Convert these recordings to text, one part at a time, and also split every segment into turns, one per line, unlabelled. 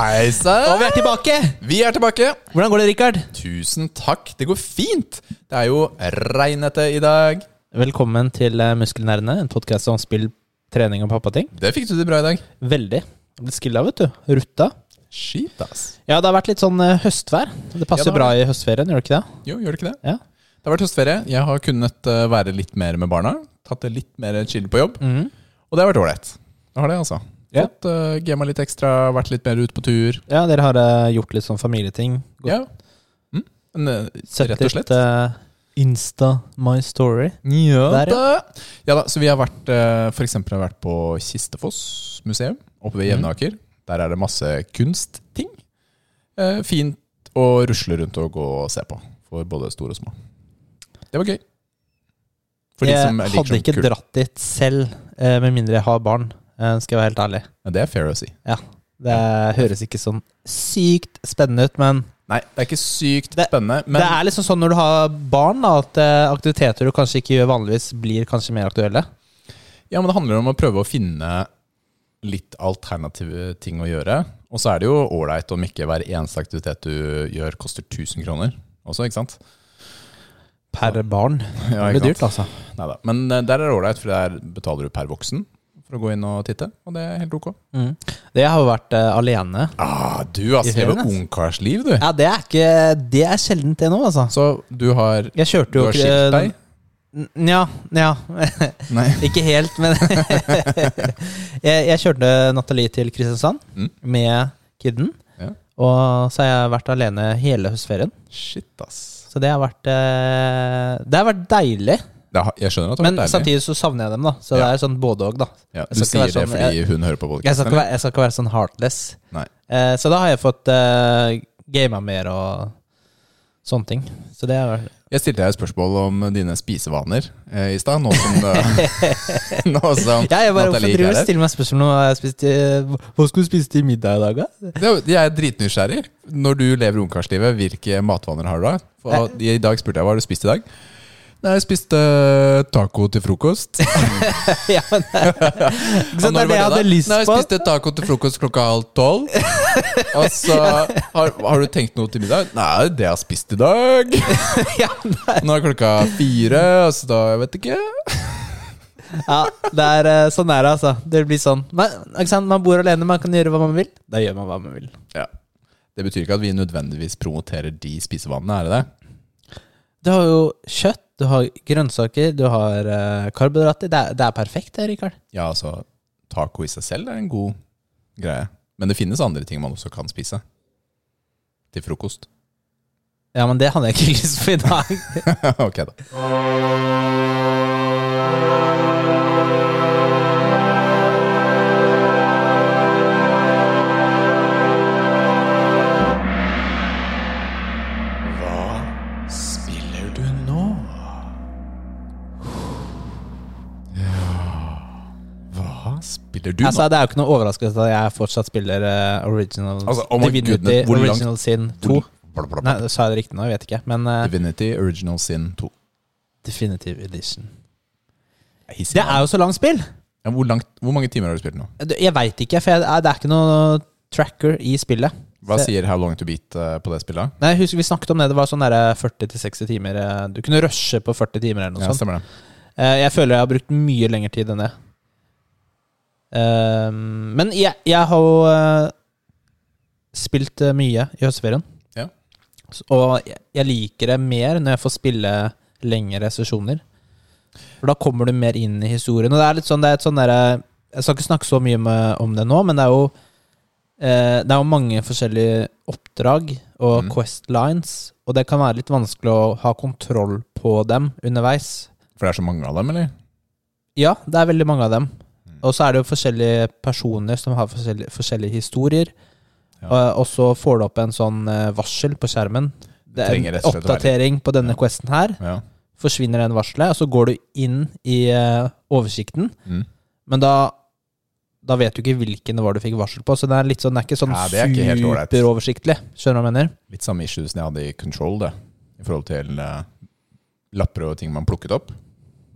Hei
Og vi
sann!
er tilbake!
Vi er tilbake.
Hvordan går det, Rikard?
Tusen takk. Det går fint. Det er jo regnete i dag.
Velkommen til eh, Muskelnerdene, en podkast om spill, trening og pappating.
Det fikk du til bra i dag.
Veldig. Litt skilla, vet du. Rutta.
Skit, ass.
Ja, det har vært litt sånn eh, høstvær. Det passer
Ja, det har
bra i høstferien, gjør det ikke det?
Jo, gjør det ikke det?
Ja.
Det har vært høstferie. Jeg har kunnet eh, være litt mer med barna. Tatt det litt mer chill på jobb.
Mhm.
Og det har vært ålreit. Det har det, altså.
Ja.
Fått uh, gama litt ekstra, vært litt mer ute på tur.
ja, dere har eh, gjort litt sånn familieting. Gått-
Ja. Mm. Men, eh,
Sett
rett og slett.
litt eh, Insta My Story.
Ja
Der,
da. ja da, så vi har vært eh, For eksempel har vi vært på Kistefoss museum Oppe ved Jevnaker Der er det masse kunstting Eh, Fint å rusle rundt og gå og se på For både store og små Det var gøy For de
Jeg
som liker
hadde
sånn
ikke
kul-
dratt dit selv, eh, med mindre jeg har barn, eh, skal jeg være helt ærlig.
ja, Det er fair å si
Det høres ikke sånn sykt spennende ut, men
Nei, det er ikke sykt
Det-
spennende Men
det er liksom sånn når du har barn, da, at eh, aktiviteter du kanskje ikke gjør vanligvis, blir kanskje mer aktuelle.
Ja, men det handler om å prøve å finne litt alternative ting å gjøre. Og så er det jo ålreit om ikke hver eneste aktivitet du gjør, koster 1000 kroner også, ikke sant?
Per barn.
Ja,
det blir dyrt, altså.
Neida. Men eh, der er det ålreit, for der betaler du per voksen for å gå inn og titte. Og det er helt ok.
Mm. Det har jo vært eh, alene.
Ah, du har
I ferien,
skrevet
ass.
ungkarsliv, du.
Ja, det er ikke Det er sjeldent, det nå, altså.
Så du har,
Jeg kjørte
du
jo
har skilt deg?
N- Nja, nja.
Nei.
ikke helt, men jeg, jeg kjørte Nathalie til Kristiansand
Mm.
med kidden.
Ja.
Og så har jeg vært alene hele høstferien.
Shit, ass.
Så det har vært eh, Det har vært deilig.
Det har, jeg skjønner at det har
Men
vært deilig.
samtidig så savner jeg dem, da. Så
Ja.
det er sånn både og, da.
Ja,
jeg
du
skal
sier
ikke
det
være sånn-
fordi hun hører på
Jeg skal
podkasten?
ikke være, jeg skal ikke være sånn heartless.
Nei.
Eh, så da har jeg fått eh, gama mer og sånne ting. Så det er
Jeg stilte deg et spørsmål om dine spisevaner eh, i stad, nå som, eh, nå som
ja, jeg bare, Hvorfor
Nathalie
driver du
ikke
og
er her.
stiller meg spørsmål om hva jeg spiste Hva skulle du spise til middag i dag, da?
Det er jo- Jeg er dritnysgjerrig. Når du lever ungkarslivet, hvilke matvaner har du da? For, I dag spurte jeg hva har du spist i dag. Nei, jeg spiste eh, taco til frokost.
ja, men, ikke sant, det
Og når
er det jeg
var
hadde
da?
lyst
Nei, jeg
på.
spiste taco til frokost klokka halv tolv. Og så har, har du tenkt noe til middag? Nei, det jeg har spist i dag.
ja,
Nå er klokka fire, og så da Jeg vet ikke.
ja, det er eh, sånn er det, altså. Det blir sånn. Men, ikke sant? Man bor alene, man kan gjøre hva man vil. Da gjør man hva man vil.
Ja. Det betyr ikke at vi nødvendigvis promoterer de spisevanene, er det det?
Du har jo kjøtt, du har grønnsaker, du har eh, karbohydrater. Det er, det er perfekt, det, Rikard.
Ja, altså Taco i seg selv er en god greie. Men det finnes andre ting man også kan spise. Til frokost.
Ja, men det hadde jeg ikke lyst på i dag.
ok, da. Hva spiller du nå? Ja Hva spiller du
altså, det er jo ikke noe overraskelse at jeg fortsatt spiller eh, Original
Altså, oh my
Divinity
goodness, hvor langt-
Original Sin 2.
nå? Blablabla.
Nei, sa jeg det riktig nå? Jeg vet ikke. Men eh,
Divinity Original Sin 2.
Definitive Edition.
Hissig
Det
navn.
er jo så langt spill!
Ja, hvor, langt, hvor mange timer har du spilt nå?
Du, Jeg veit ikke, for jeg, eh, det er ikke noe tracker i spillet.
Hva
Se-
sier How Long To Beat eh, på det spillet?
Nei, jeg husker Vi snakket om det. Det var sånn derre 40-60 timer. eh, Du kunne rushe på 40 timer eller noe
Ja,
sånt.
stemmer det.
Eh, Jeg føler jeg har brukt mye lengre tid enn det. Ehm, men jeg, jeg har jo eh, spilt eh, mye i høstferien.
Ja.
S- Og jeg, jeg liker det mer når jeg får spille lengre sesjoner. For da kommer du mer inn i historien. Og det er litt sånn, det er et sånn derre Jeg skal ikke snakke så mye med, om det nå, men det er jo eh, Det er jo mange forskjellige oppdrag og
Mm.
quest lines, og det kan være litt vanskelig å ha kontroll på dem underveis.
For det er så mange av dem, eller?
Ja, det er veldig mange av dem.
Mm.
Og så er det jo forskjellige personer som har forskjellige, forskjellige historier.
Ja.
Og, og så får du opp en sånn eh, varsel på skjermen. Det er
trenger
en
rett og slett å være-
oppdatering på denne
Ja.
questen her.
Ja.
Forsvinner den varselet, og så går du inn i eh, oversikten.
Mm.
Men da, da vet du ikke hvilken det var du fikk varsel på, så det er litt sånn, det er ikke sånn
Ja, det er ikke helt ålreit.
superoversiktlig. Skjønner du hva jeg mener?
Litt samme issues jeg hadde i Control, det. I forhold til eh, lapper og ting man plukket opp.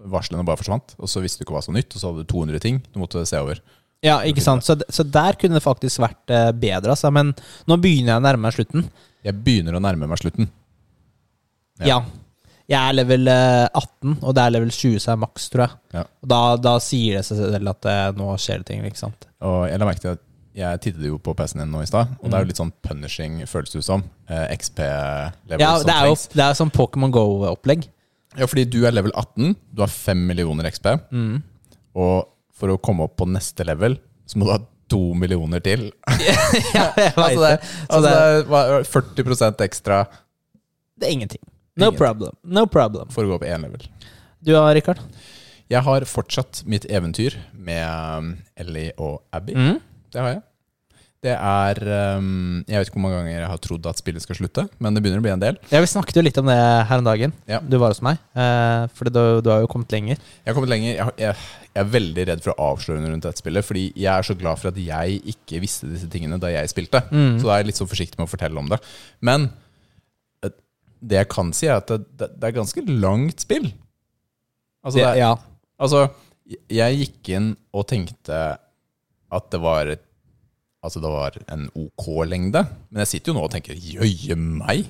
Varslene bare forsvant, og så visste du ikke hva som var nytt, og så hadde du 200 ting du måtte se over.
Ja, ikke sant? Så, så der kunne det faktisk vært eh, bedre, altså. Men nå begynner jeg å nærme meg slutten.
Jeg begynner å nærme meg slutten. Ja.
Ja. Jeg er level eh, 18, og det er level 20 som er maks, tror jeg.
Ja.
Og da, da sier det seg selv at eh, nå skjer det ting, ikke sant.
Og jeg la merke til at jeg tittet jo på PC-en din nå i stad, og det er jo litt sånn punishing, føles det ut som. Eh, XP-level
Ja,
som
det er jo
trengs.
det er sånn Pokémon Go-opplegg.
Ja, fordi du er level 18, du har 5 millioner XP,
Mm.
og for å komme opp på neste level, så må du ha 2 millioner til.
ja, jeg vet
Altså det,
det.
er-
Så
altså
det,
det
er,
er hva- 40 ekstra
det er ingenting. No
Ingenting.
problem. No problem.
for å gå opp én level.
Du da, Rikard?
Jeg har fortsatt mitt eventyr med um, Ellie og Abby.
Mm.
Det har jeg. Det er um, Jeg vet ikke hvor mange ganger jeg har trodd at spillet skal slutte, men det begynner å bli en del.
Ja, vi snakket jo litt om det her om dagen.
Ja.
Du var hos meg. Eh, for du, du har jo kommet lenger.
Jeg har kommet lenger. Jeg, har- jeg, jeg er veldig redd for å avsløre noe rundt dette spillet, fordi jeg er så glad for at jeg ikke visste disse tingene da jeg spilte. Så da er jeg litt så forsiktig med å fortelle om det. Men eh, det jeg kan si, er at det, det, det er ganske langt spill. Altså, det,
Det-
er-
ja.
altså, jeg gikk inn og tenkte at det var et- Altså det var en OK lengde, men jeg sitter jo nå og tenker jøye meg.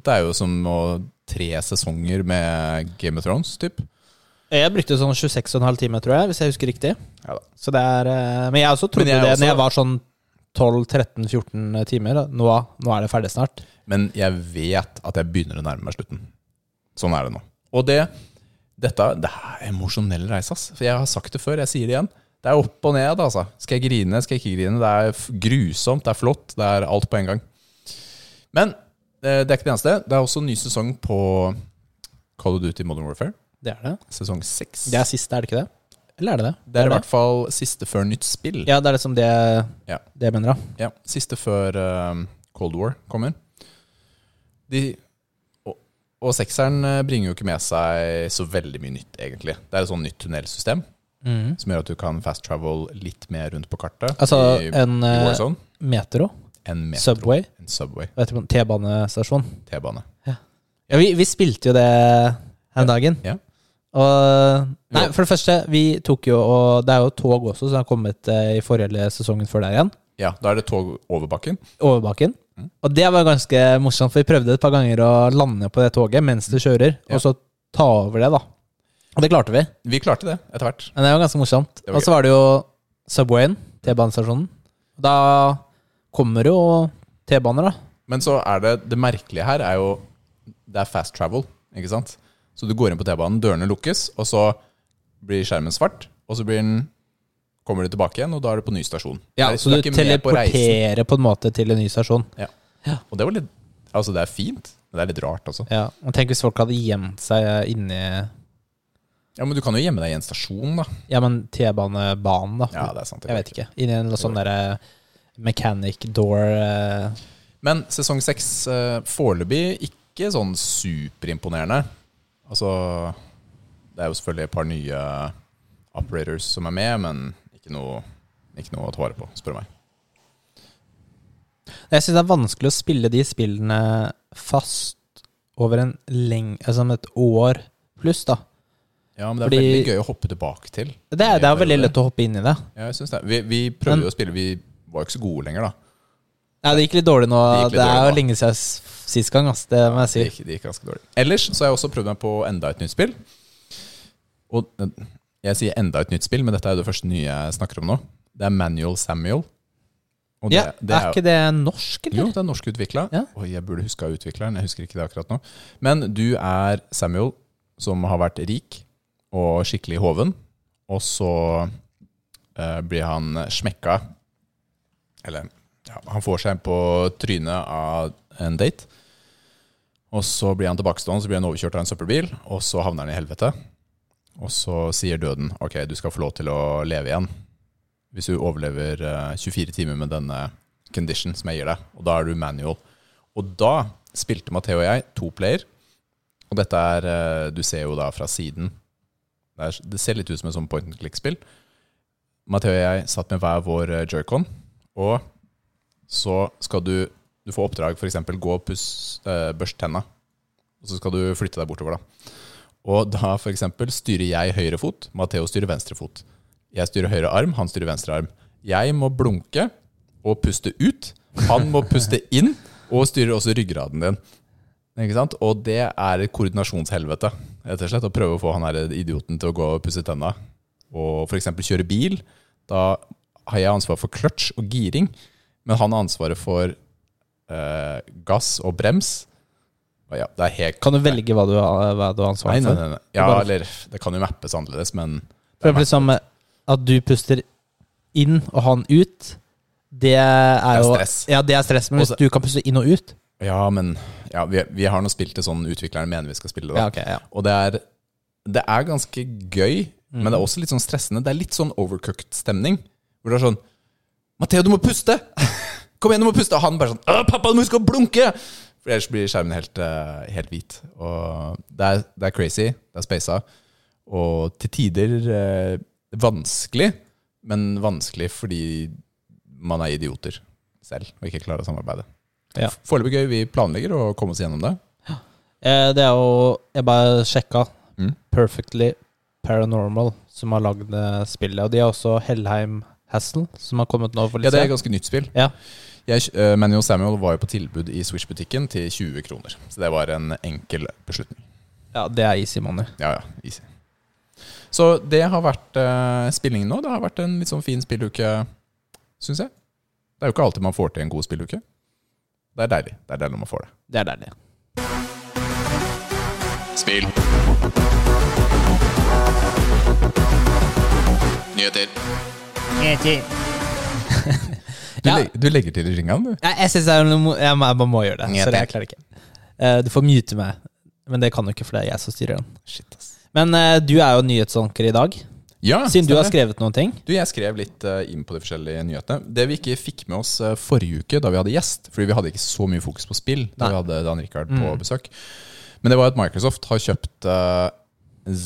Dette er jo som å tre sesonger med Game of Thrones, typ.
Jeg brukte sånn 26,5 timer, tror jeg, hvis jeg husker riktig.
Ja da.
Så det er, eh, men jeg også trodde
Men jeg
det
også-
når jeg var sånn 12-13-14 eh, timer. da. Nå, nå er det ferdig snart.
Men jeg vet at jeg begynner å nærme meg slutten. Sånn er det nå. Og det, dette det er emosjonell reise, ass. For jeg har sagt det før, jeg sier det igjen. Det er opp og ned, altså. Skal jeg grine, skal jeg ikke grine? Det er f- grusomt, det er flott, det er alt på en gang. Men eh, det er ikke det eneste. Det er også ny sesong på Call of Duty Modern Warfare.
Det er det.
Sesong seks.
Det er siste, er det ikke det? Eller er det det?
Det er i hvert fall siste før nytt spill.
Ja, det er liksom det,
Ja.
det jeg mener, da.
Ja, siste før eh, Cold War kommer. De, og, og sekseren eh, bringer jo ikke med seg så veldig mye nytt, egentlig. Det er et sånn nytt tunnelsystem
Mm.
som gjør at du kan fast travel litt mer rundt på kartet.
Altså
i,
en
i
eh,
Warzone.
metro,
En metro,
subway,
en subway,
hva heter det, T-banestasjon.
T-bane.
Ja, vi, vi spilte jo det her om dagen.
Ja.
Og Nei,
Ja.
for det første, vi tok jo og Det er jo tog også som har kommet eh, i forrige sesongen før der igjen.
Ja, da er det tog over bakken.
over bakken. Og det var ganske morsomt, for vi prøvde et par ganger å lande på det toget mens det kjører,
Ja.
og så ta over det, da. Og det klarte vi.
Vi klarte det etter hvert.
Men det var ganske morsomt.
Det var
Og så var det jo Subwayen, T-banestasjonen. Da kommer jo T-baner, da.
Men så er det det merkelige her er jo Det er fast travel, ikke sant? Så du går inn på T-banen, dørene lukkes, og så blir skjermen svart, og så blir den kommer du tilbake igjen, og da er du på ny stasjon. Det er-
så du
er ikke med på reisen.
teleporterer på, en måte til en ny stasjon.
Og det var litt Altså, det er fint, men det er litt rart, altså.
Ja, og Tenk hvis folk hadde gjemt seg inni
Ja, men du kan jo gjemme deg i en stasjon, da.
Ja, men T-banebanen, da.
Ja, det er sant. det
jeg
går
vet ikke. Inni en sånn derre mechanic door eh,
Men sesong seks eh, foreløpig ikke sånn superimponerende. Altså Det er jo selvfølgelig et par nye operators som er med, men ikke noe, ikke noe å ta vare på, spør du meg.
Jeg syns det er vanskelig å spille de spillene fast over en leng... Altså om et år pluss, da.
Ja, men det er
Fordi-
veldig gøy å hoppe tilbake til.
Det er, det er veldig lett å hoppe inn i det.
Ja, jeg synes det. Vi, vi prøvde jo å spille, vi var jo ikke så gode lenger, da.
Nei, det gikk litt dårlig nå.
Det gikk litt
Det, er
dårlig
jo
nå.
lenge siden s- sist gang, ass. Det må jeg
Det
si.
gikk, det gikk ganske dårlig. Ellers så har jeg også prøvd meg på enda et nytt spill. Og eh, jeg sier enda et nytt spill, men dette er jo det første nye jeg snakker om nå. Det er Manual Samuel. Og
ja, er ikke det norsk,
Jo,
eller?
det er norskutvikla.
Ja.
Oi, jeg burde huska utvikleren. Jeg husker ikke det akkurat nå. Men du er Samuel, som har vært rik og skikkelig hoven. Og så eh, blir han smekka Eller ja, han får seg på trynet av en date. Og så blir han tilbakestående, så blir han overkjørt av en søppelbil, og så havner han i helvete. Og så sier døden ok, du skal få lov til å leve igjen hvis du overlever eh, 24 timer med denne condition som jeg gir deg, og da er du manual. Og da spilte Matheo og jeg to player, og dette er eh, Du ser jo da fra siden. Det, er, det ser litt ut som et sånn point and click-spill. Matheo og jeg satt med hver vår eh, joycon, og så skal du Du får oppdrag f.eks. gå og puss- eh, børste tenna, og så skal du flytte deg bortover, da. Og da f.eks. styrer jeg høyre fot, Matheo styrer venstre fot. Jeg styrer høyre arm, han styrer venstre arm. Jeg må blunke og puste ut. Han må puste inn, og styrer også ryggraden din. Ikke sant? Og det er et koordinasjonshelvete, rett og slett. Å prøve å få han her idioten til å gå og pusse tenna. Og f.eks. kjøre bil. Da har jeg ansvar for clutch og giring, men han har ansvaret for eh, gass og brems. Og ja, det er helt
Kan du velge hva du, har- hva du har ansvar
Nei, nei,
for?
nei, nei. Ja,
bare-
eller det kan jo mappes annerledes, men
For eksempel liksom at du puster inn og han ut, det er jo
stress.
Ja, det er stress. Men hvis
Også-
du kan puste inn og ut
Ja, men ja, vi, vi har nå spilt det sånn utviklerne mener vi skal spille det. da.
Ja, ok. Ja.
Og det er, det er ganske gøy, men det er også litt sånn stressende. Det er litt sånn overcooked stemning. Hvor det er sånn Matheo, du må puste! Kom igjen, du må puste! Og han bare sånn «Åh, Pappa, du må huske å blunke! For ellers blir skjermen helt, eh, helt hvit. Og det er, det er crazy. Det er spasa. Og til tider eh, vanskelig, men vanskelig fordi man er idioter selv og ikke klarer å samarbeide.
Ja.
Foreløpig gøy. Vi planlegger å komme oss gjennom det.
Eh, Det er jo Jeg bare sjekka.
Mm.
Perfectly Paranormal, som har lagd eh, spillet. Og de har også Hellheim Hassel, som har kommet nå for
Ja,
litt
det er et
siden.
ganske nytt spill.
Ja.
Jeg, eh, Manny og Samuel var jo på tilbud i Switch-butikken til 20 kroner. Så det var en enkel beslutning.
ja, det er easy money.
Ja, ja, easy. Så det har vært eh, spillingen nå. Det har vært en litt sånn fin spilluke, syns jeg. Det er jo ikke alltid man får til en god spilluke. Det er deilig. Det er deilig når man får det.
Det er deilig.
Spill. Nyheter. Du,
Ja.
legger, du legger til i ringene, du.
Jeg, jeg synes jeg, må- jeg, må- jeg bare må gjøre det.
Ja,
så det,
takk.
jeg klarer ikke. Eh, Du får mute meg, men det kan du ikke, for det er jeg som styrer den.
Shit, ass.
Men eh, du er jo nyhetsanker i dag,
Ja,
siden du har
stemmer.
skrevet noen ting.
Du, jeg skrev litt eh, inn på de forskjellige nyhetene. Det vi ikke fikk med oss eh, forrige uke, da vi hadde gjest, fordi vi hadde ikke så mye fokus på spill
Nei.
da
Mm.
vi hadde Dan Rikard på besøk, men det var at Microsoft har kjøpt eh,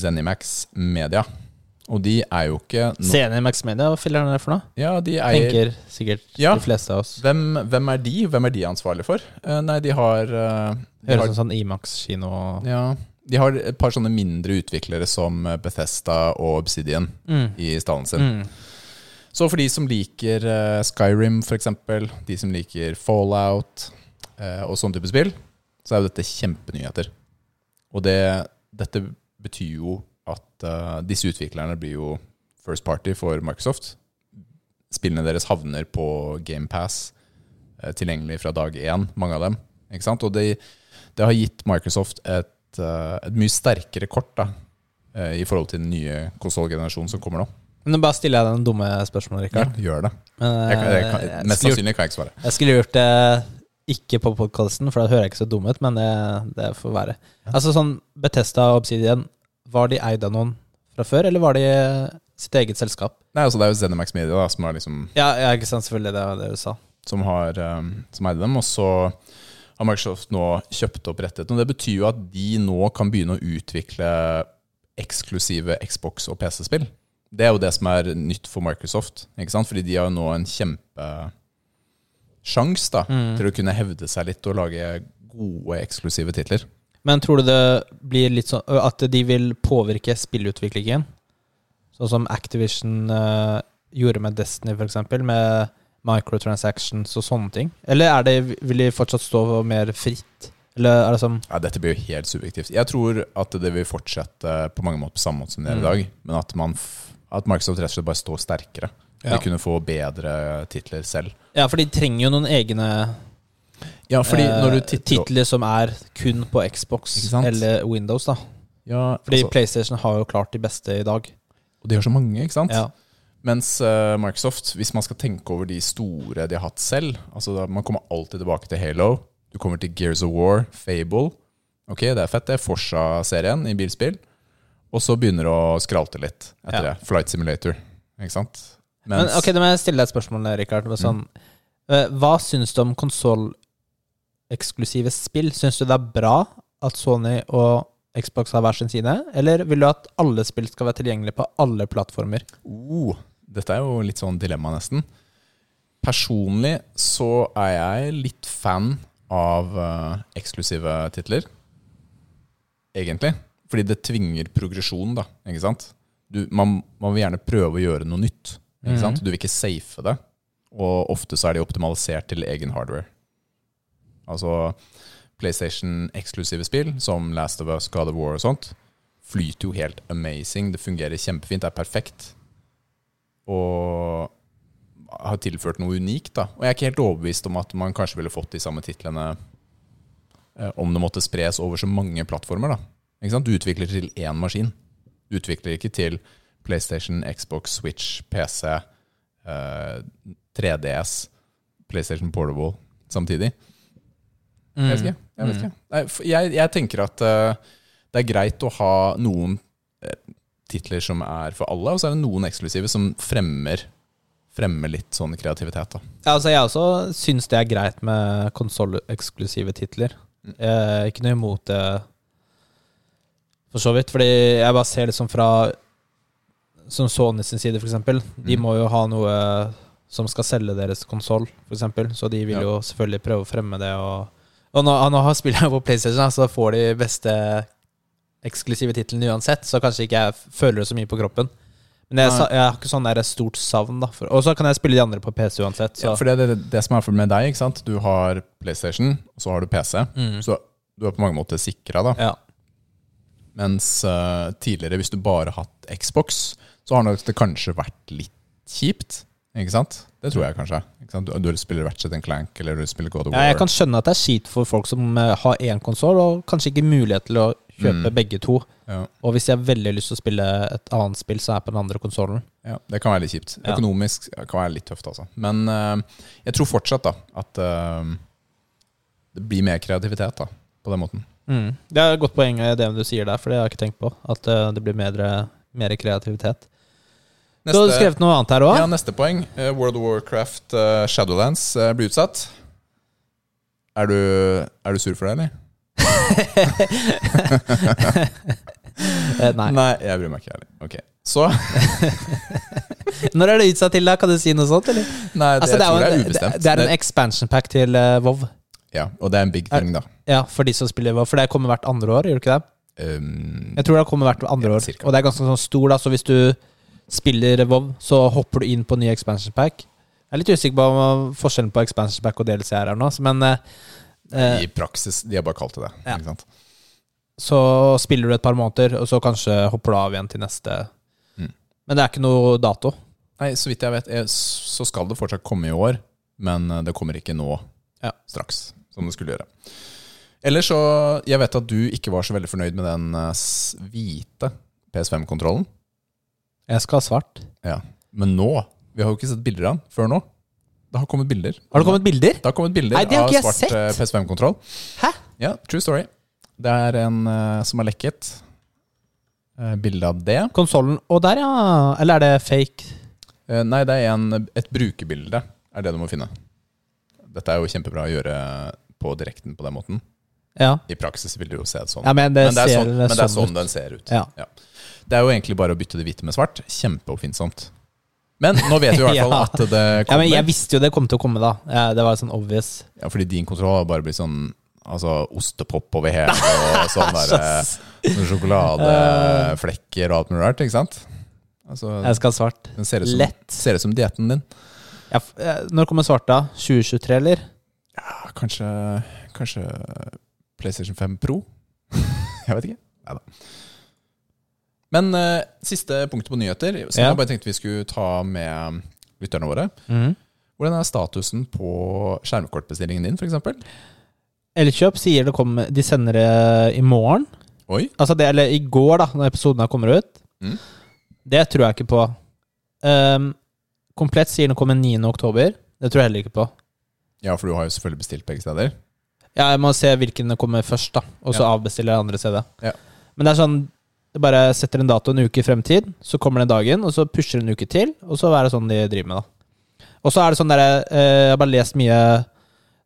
Zenimax Media. Og de er jo ikke no
Scenen i Max Media, hva fyller den der for noe?
Ja, de eier
Tenker sikkert
Ja.
de fleste av oss.
hvem, hvem er de? Hvem er de ansvarlig for? Eh, nei, de har, eh, de
Høres
har
ut som sånn Imax-kino.
ja, De har et par sånne mindre utviklere som eh, Bethesda og Obsidian
Mm.
i stallen sin.
Mm.
Så for de som liker eh, Skyrim for eksempel, de som liker Fallout eh, og sånn type spill, så er jo dette kjempenyheter. Og det, dette betyr jo at eh, disse utviklerne blir jo first party for Microsoft. Spillene deres havner på GamePass, eh, tilgjengelig fra dag én, mange av dem. Ikke sant? Og det, det har gitt Microsoft et, eh, et mye sterkere kort da, eh, i forhold til den nye konsollgenerasjonen som kommer nå.
Men nå bare stiller jeg deg den dumme spørsmålet, Rikard.
Gjør det.
Men, eh,
Jeg kan, jeg kan,
jeg
mest
skulle gjort-
sannsynlig kan jeg ikke svare.
Jeg skulle gjort det ikke på podkasten, for da hører jeg ikke så dum ut, men det, det får være. Altså sånn Betesta og Obsidian, var de eid av noen fra før, eller var de sitt eget selskap?
Nei, altså Det er jo Zenimax Media da, som, er liksom,
Ja, ja ikke sant, selvfølgelig, det var det du sa.
som har um, Som eide dem. Og så har Microsoft nå kjøpt opp rettighetene. Og Det betyr jo at de nå kan begynne å utvikle eksklusive Xbox- og PC-spill. Det er jo det som er nytt for Microsoft. Ikke sant? Fordi de har jo nå en kjempesjanse da, til å kunne hevde seg litt og lage gode eksklusive titler.
Men tror du det blir litt sånn ø, at de vil påvirke spillutviklingen? Sånn som Activision eh, gjorde med Destiny, for eksempel, med microtransactions og sånne ting? Eller er det, vil de fortsatt stå mer fritt? Eller er det sånn
Ja, dette blir jo helt subjektivt. Jeg tror at det vil fortsette på mange måter på samme måte som
Mm.
det er i dag, men at, man f at Microsoft rett og slett bare står sterkere.
Ja.
De kunne få bedre titler selv.
Ja, for de trenger jo noen egne
Ja, fordi
eh,
når du titter
titler som er kun på Xbox
Ikke sant?
eller Windows, da.
ja,
Fordi
altså,
PlayStation har jo klart de beste i dag.
Og de har så mange, ikke sant?
Ja.
Mens eh, Microsoft, hvis man skal tenke over de store de har hatt selv altså da, Man kommer alltid tilbake til Halo. Du kommer til Gears of War, Fable. Ok, det er fett, det. Forsa-serien i bilspill. Og så begynner det å skralte litt
Ja.
etter det. Flight Simulator, ikke sant?
Men
Mens-
ok, da må jeg stille deg et spørsmål, Rikard. Med Sånn, eh, Hva syns du om konsolleksklusive spill? Syns du det er bra at Sony og Xbox har hver sin side, eller vil du at alle spill skal være tilgjengelige på alle plattformer?
Oh, dette er jo litt sånn dilemma, nesten. Personlig så er jeg litt fan av eh, eksklusive titler. Egentlig. Fordi det tvinger progresjon, da. Ikke sant? Du, man, man vil gjerne prøve å gjøre noe nytt. Ikke
Mhm.
sant? Du vil ikke safe det. Og ofte så er de optimalisert til egen hardware. Altså PlayStation-eksklusive spill som Last of Us, God of War og sånt, flyter jo helt amazing. Det fungerer kjempefint, det er perfekt. Og har tilført noe unikt, da. Og jeg er ikke helt overbevist om at man kanskje ville fått de samme titlene eh, om det måtte spres over så mange plattformer, da. Ikke sant? Du utvikler til én maskin. Du utvikler ikke til PlayStation, Xbox, Switch, PC, eh, 3DS, PlayStation Portable samtidig. Jeg
Mm.
vet ikke. Jeg, vet ikke. Nei, f- jeg, jeg tenker at eh, det er greit å ha noen eh, titler som er for alle, og så er det noen eksklusive som fremmer, fremmer litt sånn kreativitet. Da.
Ja, altså jeg også syns det er greit med konsolleksklusive titler.
Mm.
Eh, ikke noe imot det, for så vidt. Fordi jeg bare ser liksom fra Som Sony sin side, for eksempel. De
Mm.
må jo ha noe som skal selge deres konsoll, for eksempel. Så de vil
Ja.
jo selvfølgelig prøve å fremme det. Og, og nå, nå har spillet på PlayStation, da, så da får de beste eksklusive titlene uansett. Så kanskje ikke jeg føler det så mye på kroppen. Men jeg,
Nei.
sa- jeg har ikke sånn der stort savn, da. For- Og så kan jeg spille de andre på PC uansett. Så.
Ja, for det, er det, det som er med deg, ikke sant? du har PlayStation, og så har du PC.
Mm.
Så du er på mange måter sikra, da.
Ja.
Mens eh, tidligere, hvis du bare har hatt Xbox, så har nok det kanskje vært litt kjipt. Ikke sant? Det tror jeg kanskje. Ikke sant? Du, du spiller Ratchet and Clank, eller du spiller God
Mm.
of
ja,
War.
jeg kan skjønne at det er kjipt for folk som eh, har én konsoll, og kanskje ikke mulighet til å
Mm.
kjøpe begge to.
ja.
Og hvis jeg har veldig lyst til å spille et annet spill, så er jeg på den andre konsollen.
Ja, Det kan være litt kjipt.
Ja.
Økonomisk kan være litt tøft, altså. Men eh, jeg tror fortsatt da at eh, det blir mer kreativitet da på den måten.
Mm. Det er et godt poeng i det du sier der, for det har jeg ikke tenkt på. At eh, det blir mer, mer kreativitet. Du har skrevet noe annet her òg?
ja, neste poeng. eh, World of Warcraft eh, Shadowlands eh, blir utsatt. Er du, er du sur for det, eller?
Eh, nei.
jeg bryr meg ikke heller. Ok, så
Når er det utsatt til, da? Kan du si noe sånt, eller?
Nei, det,
Altså,
jeg tror
jo
det er
en-
ubestemt.
det- det er en expansion pack til eh, WoW.
ja, og det er en big thing, da.
Ja, for de som spiller WoW. For det kommer hvert andre år, gjør det ikke det?
Um,
Jeg tror det kommer hvert andre
Ja,
år.
cirka.
Og det er ganske sånn stor, da. Så hvis du spiller WoW, så hopper du inn på ny expansion pack. Jeg er litt usikker på om forskjellen på expansion pack og DLC er her nå, så- men eh, eh,
I praksis, de har bare kalt det det.
Ja.
Ikke sant?
så spiller du et par måneder, og så kanskje hopper du av igjen til neste.
Mm.
Men det er ikke noe dato.
Nei, så vidt jeg vet, eh, så skal det fortsatt komme i år, men eh, det kommer ikke nå
Ja.
straks, som det skulle gjøre. Eller så, jeg vet at du ikke var så veldig fornøyd med den eh, s- hvite PS5-kontrollen,
Jeg skal ha svart.
men nå, vi har jo ikke sett bilder av den før nå. Det har kommet bilder.
Har det kommet bilder?
Det har kommet bilder
Nei, det har
av
ikke jeg
svart
sett.
eh, PS5-kontroll.
Hæ?
Ja, true story. Det er en eh, som har lekket. Eh, Bilde av det.
Konsollen Å, der, ja. Eller er det fake?
Eh, Nei, det er en, et brukerbilde er det du må finne. Dette er jo kjempebra å gjøre på direkten på den måten.
Ja.
I praksis vil du jo se det sånn.
ja men det,
men, det er
ser
sånn men det er sånn
ut.
den ser ut.
Ja.
Det er jo egentlig bare å bytte det hvite med svart. Kjempeoppfinnsomt. Men nå vet vi i hvert fall
Ja.
at det
ja,
kommer.
men
Ja,
jeg visste jo det kom til å komme, da. Eh, Det var sånn obvious.
fordi din kontroll har bare blitt sånn altså, ostepop over hele, og sånn der,
Æsj, ass.
sånne sjokoladeflekker og alt mulig rart. Ikke sant? Altså,
Jeg skal ha svart.
den ser ut som,
Lett.
ser ut som dietten din.
Ja, f- eh, når kommer svart da? 2023, eller?
Ja, Kanskje, kanskje PlayStation 5 Pro? jeg vet ikke. Nei da. Men eh, siste punktet på nyheter, som
Ja.
jeg bare tenkte vi skulle ta med lytterne våre. Hvordan er statusen på skjermkortbestillingen din, f.eks.?
Elkjøp sier det kommer De sender det i morgen.
Oi.
Altså det, eller i går, da, når episoden her kommer ut.
Mm.
Det tror jeg ikke på. Ehm, komplett sier den kommer 9. oktober. Det tror jeg heller ikke på.
Ja, for du har jo selvfølgelig bestilt begge steder.
Ja, jeg må se hvilken det kommer først, da. Og så
Ja.
avbestiller jeg andre stedet.
Ja.
Men det er sånn det bare setter en dato en uke i fremtid, så kommer den dagen, og så pusher en uke til, og så er det sånn de driver med, da. Og så er det sånn derre eh, Jeg har bare lest mye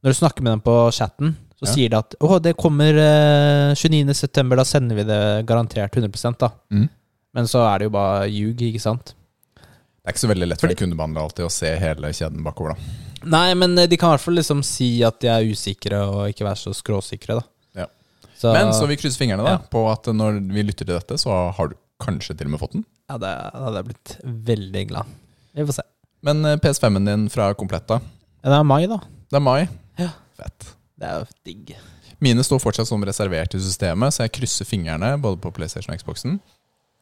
Når du snakker med dem på chatten, så
Ja.
sier de at å, det kommer eh, 29.9., da sender vi det garantert 100 da.
Mhm.
Men så er det jo bare ljug, ikke sant?
Det er ikke så veldig lett for en kundebehandler alltid å se hele kjeden bakover, da.
Nei, men eh, de kan i hvert fall liksom si at de er usikre, og ikke være så skråsikre, da.
Ja.
Så,
Men så vi krysser fingrene da
Ja.
på at når vi lytter til dette, så har du kanskje til og med fått den.
Ja, det da hadde jeg blitt veldig glad. Vi får se.
Men eh, PS5-en din fra Kompletta,
Ja, det er mai, da.
det er mai.
Ja.
Fett.
Det er jo digg.
Mine står fortsatt som reservert i systemet, så jeg krysser fingrene både på PlayStation og Xboxen.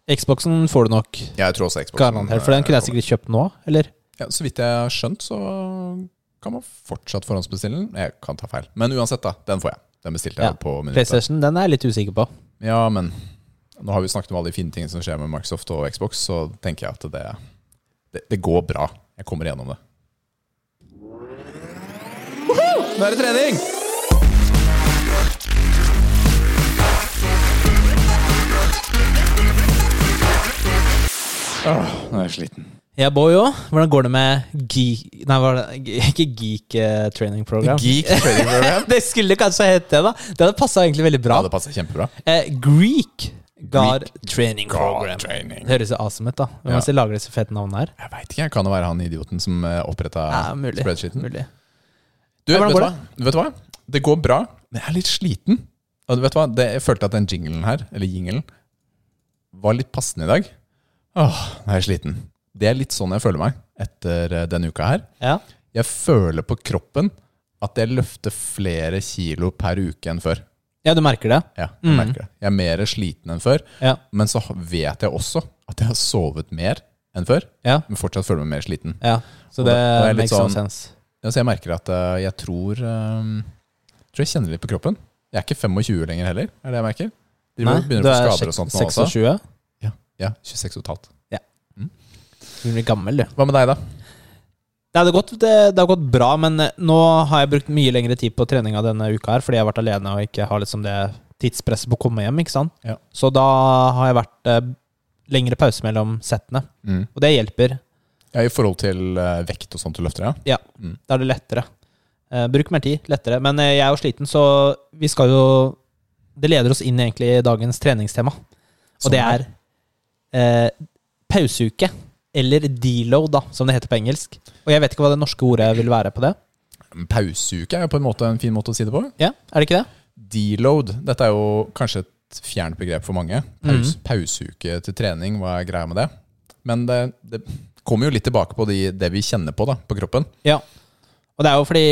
Xboxen får du nok.
Ja, Jeg tror også Xboxen eh,
Garantert. For den kunne jeg sikkert kjøpt nå, eller?
Ja, så vidt jeg har skjønt, så kan man fortsatt forhåndsbestille den. Jeg kan ta feil. Men uansett, da. Den får jeg. Den bestilte jeg
Ja,
på minuttet.
PlayStation, den er jeg litt usikker på.
Ja, men nå har vi snakket om alle de fine tingene som skjer med Microsoft og Xbox, så tenker jeg at det, det, det går bra. Jeg kommer igjennom det. Nå er det trening! Åh, nå er jeg sliten.
Jeg bor jo. Hvordan går det med geek... Nei, hva er det? ikke geek eh, training program.
Geek trading program.
det skulle kanskje hett det, da. Det hadde passa egentlig veldig bra.
Ja, det passer kjempebra.
Eh, Greek God Training Program.
God training.
Det høres jo awesome ut, da. Hvem
Ja.
er det som lager disse fete navnene her?
Jeg veit ikke. Kan det være han idioten som oppretta
Ja, mulig.
spreadsheeten?
mulig.
Du,
Ja, hvordan
vet, du
går
hva? vet du hva? Det går bra, men jeg er litt sliten. Og du vet hva? Det, jeg følte at den jinglen her, eller jingelen, var litt passende i dag. Åh, nå er jeg sliten. Det er litt sånn jeg føler meg etter eh, denne uka her.
Ja.
Jeg føler på kroppen at jeg løfter flere kilo per uke enn før.
ja, du merker det?
Ja, jeg merker det. Jeg er mer sliten enn før,
Mm. Ja.
men så vet jeg også at jeg har sovet mer enn før.
Ja.
Men fortsatt føler meg mer sliten.
ja. Så
Og
det,
det- og jeg er litt
makes no
sånn-
sense.
Ja, så jeg merker at eh, jeg tror eh, Tror jeg kjenner litt på kroppen. Jeg er ikke 25 lenger heller, er det jeg merker. De begynner å få skader og sånt nå også.
26.
Ja, ja 26 og et halvt.
Du blir gammel, du.
Hva med deg, da?
Nei, det, har gått, det, det har gått bra, men eh, nå har jeg brukt mye lengre tid på treninga denne uka her, fordi jeg har vært alene og ikke har liksom det tidspresset på å komme hjem. ikke sant?
Ja.
Så da har jeg vært eh, lengre pause mellom settene,
Mm.
og det hjelper.
Ja, I forhold til eh, vekt og sånt du løfter, ja?
Da er det lettere. Eh, bruk mer tid, lettere. Men eh, jeg er jo sliten, så vi skal jo Det leder oss inn egentlig i dagens treningstema, og
Som
det er eh, pauseuke. Eller deload, da, som det heter på engelsk. Og jeg vet ikke hva det norske ordet vil være på det.
En Pauseuke er jo på en måte en fin måte å si det på.
Ja, Er det ikke det?
Deload. Dette er jo kanskje et fjernt begrep for mange. Paus, Pauseuke til trening, hva er greia med det? Men det, det kommer jo litt tilbake på de, det vi kjenner på da, på kroppen.
Ja. Og det er jo fordi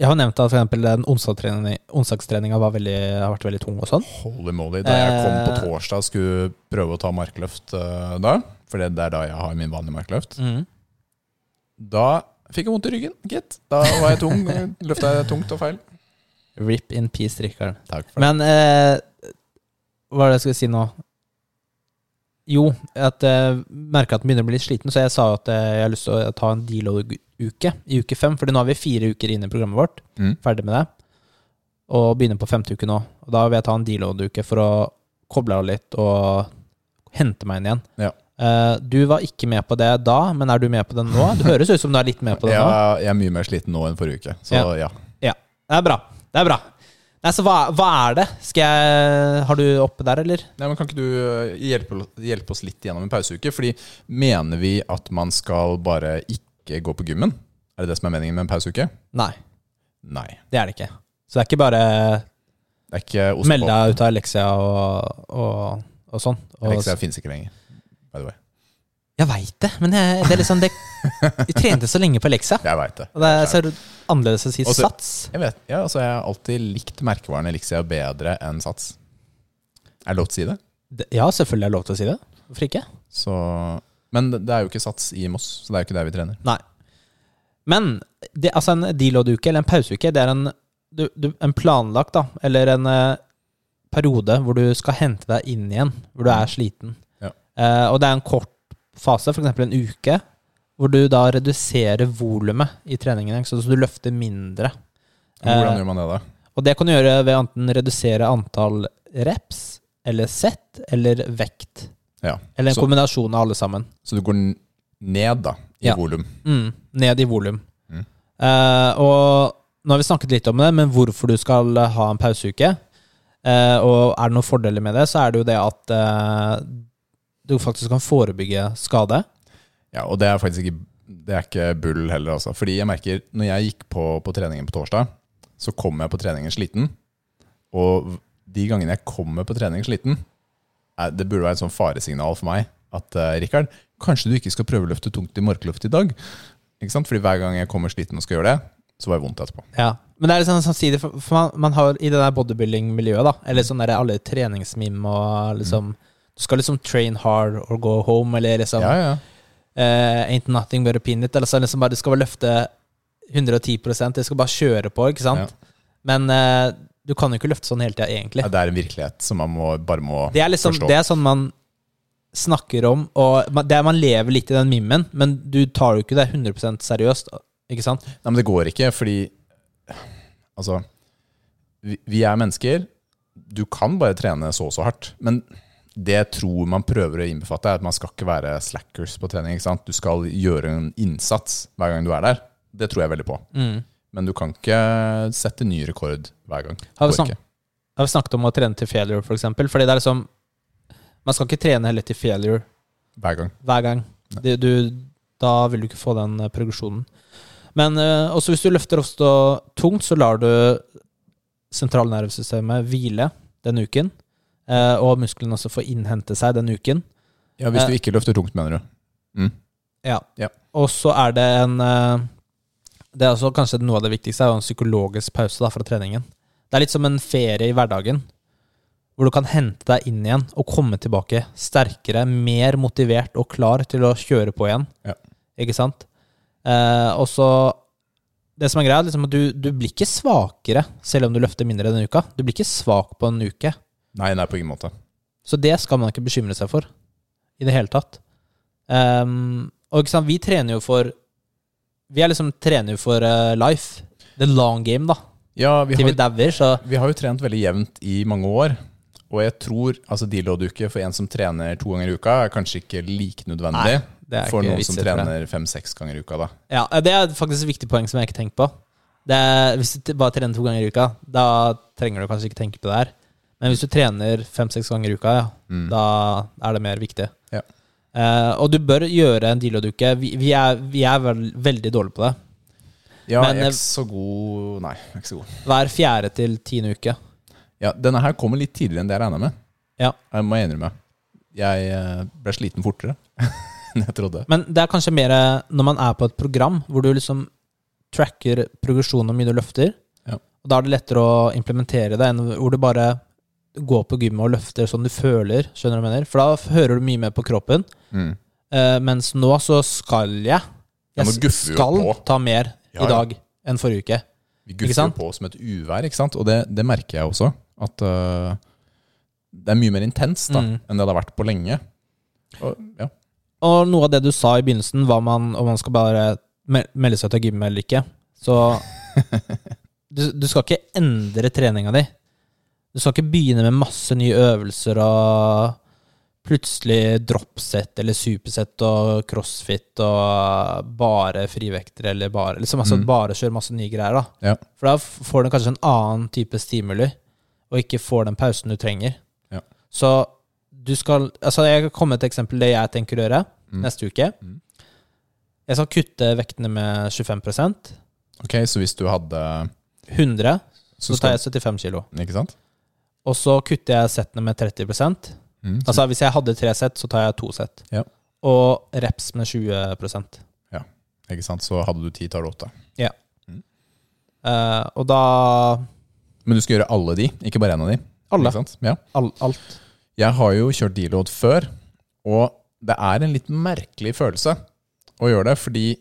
Jeg har nevnt at for eksempel den onsdagstrening- onsdagstreninga var veldig, har vært veldig tung og sånn.
Holy moly. Da jeg kom på
Eh.
torsdag og skulle prøve å ta markløft eh, da, for det er da jeg har min vanlige markløft,
Mm.
da fikk jeg vondt i ryggen, gitt. Da var jeg tung. Løfta jeg tungt og feil.
Rip in peace, Rikard.
Takk for det.
Men eh, hva er det jeg skulle si nå? Jo, at jeg merker at den begynner å bli litt sliten, så jeg sa jo at eh, jeg har lyst til å ta en deload-uke i uke fem. Fordi nå har vi fire uker inne i programmet vårt,
Mm.
ferdig med det. Og begynner på femte uke nå. Og da vil jeg ta en deload-uke for å koble av litt og hente meg inn igjen.
Ja.
Eh, du var ikke med på det da, men er du med på det nå? Det høres ut som du er litt med på det
Jeg,
nå.
er- jeg er mye mer sliten nå enn forrige uke, så ja.
Ja, det er bra. Det er bra. Nei, så hva, hva er det? Skal jeg Har du oppe der, eller?
Nei, men kan ikke du eh, hjelpe, hjelpe oss litt gjennom en pauseuke? Fordi mener vi at man skal bare ikke gå på gymmen? Er det det som er meningen med en pauseuke?
Nei,
Nei.
det er det ikke. Så det er ikke bare
Det er ikke ost
meld
på.
deg ut av Alexia og, og, og sånn. Og,
Elixia finnes ikke lenger. By the way.
Jeg veit det, men jeg, det er liksom det, Jeg trente så lenge på Alexia.
Jeg veit det.
Og det er så annerledes å si
Og så-
sats.
Jeg vet, ja, altså jeg har alltid likt merkevaren Elixia bedre enn Sats. Er det lov til å si det?
Det- Ja, selvfølgelig er det lov til å si det. Hvorfor ikke?
Så, men det det er jo ikke Sats i Moss, så det er jo ikke der vi trener.
Nei. Men det, altså en deload-uke eller en pauseuke, det er en, du, du, en planlagt da, eller en eh, periode hvor du skal hente deg inn igjen, hvor du er sliten.
Mm. Ja.
Eh, og det er en kort fase, f.eks. en uke, hvor du da reduserer volumet i treningen, ikke sant? så du løfter mindre.
Hvordan
Eh,
gjør man det, da?
og det kan du gjøre ved enten redusere antall reps, eller sett, eller vekt.
Ja.
Eller en
Så,
kombinasjon av alle sammen.
så du går n- ned da, i
Ja.
volum.
Mm, ned i volum.
Mm.
Eh, og nå har vi snakket litt om det, men hvorfor du skal ha en pauseuke, eh, og er det noen fordeler med det, så er det jo det at eh, du faktisk kan forebygge skade.
Ja, og det er faktisk ikke, det er ikke bull heller, altså. Fordi jeg merker, når jeg gikk på, på treningen på torsdag, så kom jeg på treningen sliten. Og de gangene jeg kommer på treningen sliten, er- det burde være et sånn faresignal for meg at eh, Rikard, kanskje du ikke skal prøve å løfte tungt i markluft i dag. Ikke sant? Fordi hver gang jeg kommer sliten og skal gjøre det, så var det vondt etterpå.
Ja. Men det er litt sånn samtidig, for, for man, man har i det der bodybuilding-miljøet, da, eller sånn der alle treningsmim og liksom Du skal liksom train hard or go home, eller liksom
Mm. Ja, ja.
eh, Ain't nothing but a peanut. Eller så liksom bare, du skal bare løfte 110 du skal bare kjøre på, ikke sant? Men eh, du kan jo ikke løfte sånn hele tida, egentlig.
Ja, Det er en virkelighet som man må, bare må
Det er liksom,
forstå.
det er sånn man snakker om, og man, det er man lever litt i den mimmen, men du tar jo ikke det 100 seriøst, ikke sant?
Nei, men det går ikke, fordi Altså, vi, vi er mennesker. Du kan bare trene så og så hardt. Men det jeg tror man prøver å innbefatte, er at man skal ikke være slackers på trening. ikke sant? Du skal gjøre en innsats hver gang du er der. Det tror jeg veldig på.
Mm.
Men du kan ikke sette ny rekord hver gang.
Har vi
Går
snakket-
ikke.
Jeg har snakket om å trene til failure, for eksempel, fordi det er liksom Man skal ikke trene heller til failure
Hver gang.
hver gang. Det, du, da vil du ikke få den eh, progresjonen. Men eh, også hvis du løfter ofte tungt, så lar du sentralnervesystemet hvile den uken. eh, og musklene også får innhente seg den uken.
Ja, Hvis
Eh.
du ikke løfter tungt, mener du. Mm.
Ja.
Ja.
Og så er det en eh, Det er også kanskje noe av det viktigste, er jo en psykologisk pause da, fra treningen. Det er litt som en ferie i hverdagen, hvor du kan hente deg inn igjen og komme tilbake sterkere, mer motivert og klar til å kjøre på igjen.
Ja.
Ikke sant? Eh, og så Det som er greia, er liksom at du, du blir ikke svakere selv om du løfter mindre denne uka. Du blir ikke svak på en uke.
Nei, nei, på ingen måte.
Så det skal man ikke bekymre seg for i det hele tatt. Ehm, og ikke sant, vi trener jo for Vi er liksom trener jo for eh, life. The long game, da.
Ja, vi
Til
har
vi dauer, så
Vi har jo trent veldig jevnt i mange år. Og jeg tror altså deload-uke for en som trener to ganger i uka, er kanskje ikke like nødvendig
det er
for
ikke
noen
vits
som
i, tror jeg.
trener fem-seks ganger i uka. da.
Ja, det er faktisk et viktig poeng som jeg ikke tenker på. Det er, hvis du t- bare trener to ganger i uka, da trenger du kanskje ikke tenke på det her. Men hvis du trener fem-seks ganger i uka, ja, da er det mer viktig.
Mm. Ja.
Eh, og du bør gjøre en deal og duke. Vi, vi er, vi er vel, veldig dårlige på det.
Ja,
Men,
jeg
eh,
er ikke så god Nei, jeg er ikke så god.
Hver fjerde til tiende uke.
Ja, Denne her kommer litt tidligere enn det jeg regna med.
Ja.
Jeg må innrømme. Jeg eh, ble sliten fortere enn jeg trodde.
Men det er kanskje mer eh, når man er på et program hvor du liksom tracker progresjonen og hvor mye du løfter.
Ja.
Og da er det lettere å implementere det enn hvor du bare går på gymmet og løfter sånn du føler. skjønner du hva jeg mener? For da f- hører du mye mer på kroppen.
Mm.
Eh, mens nå så skal jeg.
Ja,
Jeg
nå
s-
guffer vi jo
skal
på.
ta mer
Ja, ja.
i dag enn forrige uke.
Vi
Ikke
guffer jo
sant?
på som et uvær, ikke sant? Og det, det merker jeg også. At eh, det er mye mer intenst da,
Mm.
enn det har vært på lenge. Og, ja.
Og noe av det du sa i begynnelsen, var man, om man skal bare mel- melde seg til gymmet eller ikke. Så du, du skal ikke endre treninga di. Du skal ikke begynne med masse nye øvelser og plutselig dropset eller supersett og crossfit og bare frivekter eller bare liksom, altså,
Mm.
Bare kjøre masse nye greier, da.
Ja.
For da f- får du kanskje en annen type stimuli, og ikke får den pausen du trenger.
Ja.
Så du skal Altså, jeg kan komme med et eksempel det jeg tenker å gjøre
Mm.
neste uke.
Mm.
Jeg skal kutte vektene med 25
Ok, så hvis du hadde
100, så,
skal-
tar jeg 75 kilo.
Ikke sant?
Og så kutter jeg settene med 30 Altså
Mm.
hvis jeg hadde tre sett, så tar jeg to sett.
Ja.
Og reps med 20
Ikke sant? Så hadde du ti, tar du åtte.
Eh, Og da
Men du skal gjøre alle de, ikke bare én av de.
Alle.
Ikke sant? Ja.
All, alt.
Jeg har jo kjørt deload før, og det er en litt merkelig følelse å gjøre det, fordi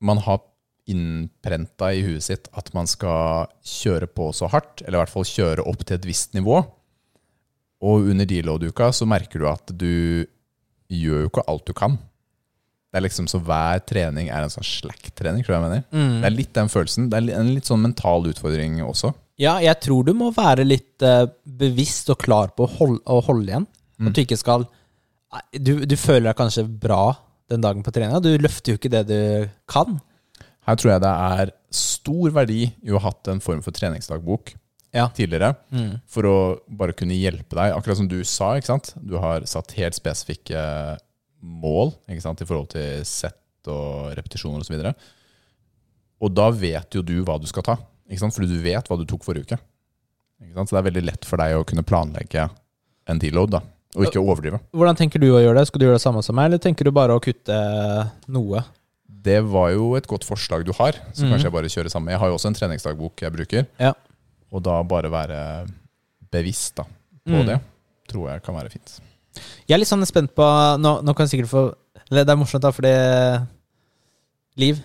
man har innprenta i huet sitt at man skal kjøre på så hardt, eller i hvert fall kjøre opp til et visst nivå. Og under deload-uka så merker du at du gjør jo ikke alt du kan. Det er liksom så hver trening er en sånn slack-trening, tror jeg jeg mener.
Mm.
Det er litt den følelsen. Det er li- en litt sånn mental utfordring også.
Ja, jeg tror du må være litt eh, bevisst og klar på å holde, å holde igjen.
Mm.
At du ikke skal Nei, du, du føler deg kanskje bra den dagen på treninga. Du løfter jo ikke det du kan.
Her tror jeg det er stor verdi i å ha hatt en form for treningsdagbok
Ja.
tidligere,
Mm.
for å bare kunne hjelpe deg. Akkurat som du sa, ikke sant? du har satt helt spesifikke mål ikke sant? i forhold til sett og repetisjoner osv. videre og da vet jo du hva du skal ta, ikke sant? fordi du vet hva du tok forrige uke. Ikke sant? Så det er veldig lett for deg å kunne planlegge en deload. Da. Og ikke overdrive.
Hvordan tenker du å gjøre det? Skal du gjøre det samme som meg, eller tenker du bare å kutte noe?
Det var jo et godt forslag du har, så
Mhm.
kanskje jeg bare kjører sammen. Jeg har jo også en treningsdagbok jeg bruker,
Ja.
og da bare være bevisst da, på
Mm.
det, tror jeg kan være fint.
Jeg er litt sånn spent på Nå, nå kan jeg sikkert få eller Det er morsomt, da, fordi Liv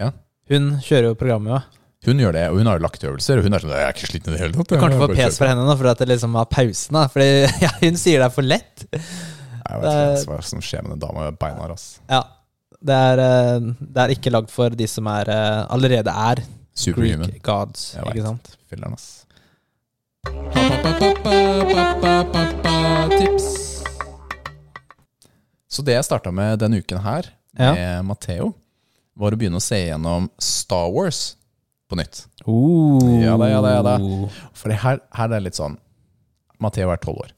Ja.
Hun kjører jo programmet. jo.
Hun gjør det, og hun har jo lagt øvelser, og hun er sånn, jeg er ikke sliten i det hele tatt.
Du kan ikke få pes fra
henne.
henne nå for at det liksom var pausen. da Fordi ja, Hun sier det er for lett.
Jeg vet ikke hva som skjer med den dama med beina, ass.
Ja Det er, eh, det er ikke lagd for de som er, eh, allerede er
Superhuman.
Greek gods.
Jeg vet.
Ikke sant?
Filler'n, ass. Tips. Så det jeg starta med denne uken her,
Ja.
med Matheo, var å begynne å se gjennom Star Wars på nytt.
Oh.
Ja da, ja da, ja da. For det her, her er det litt sånn Matheo er tolv år,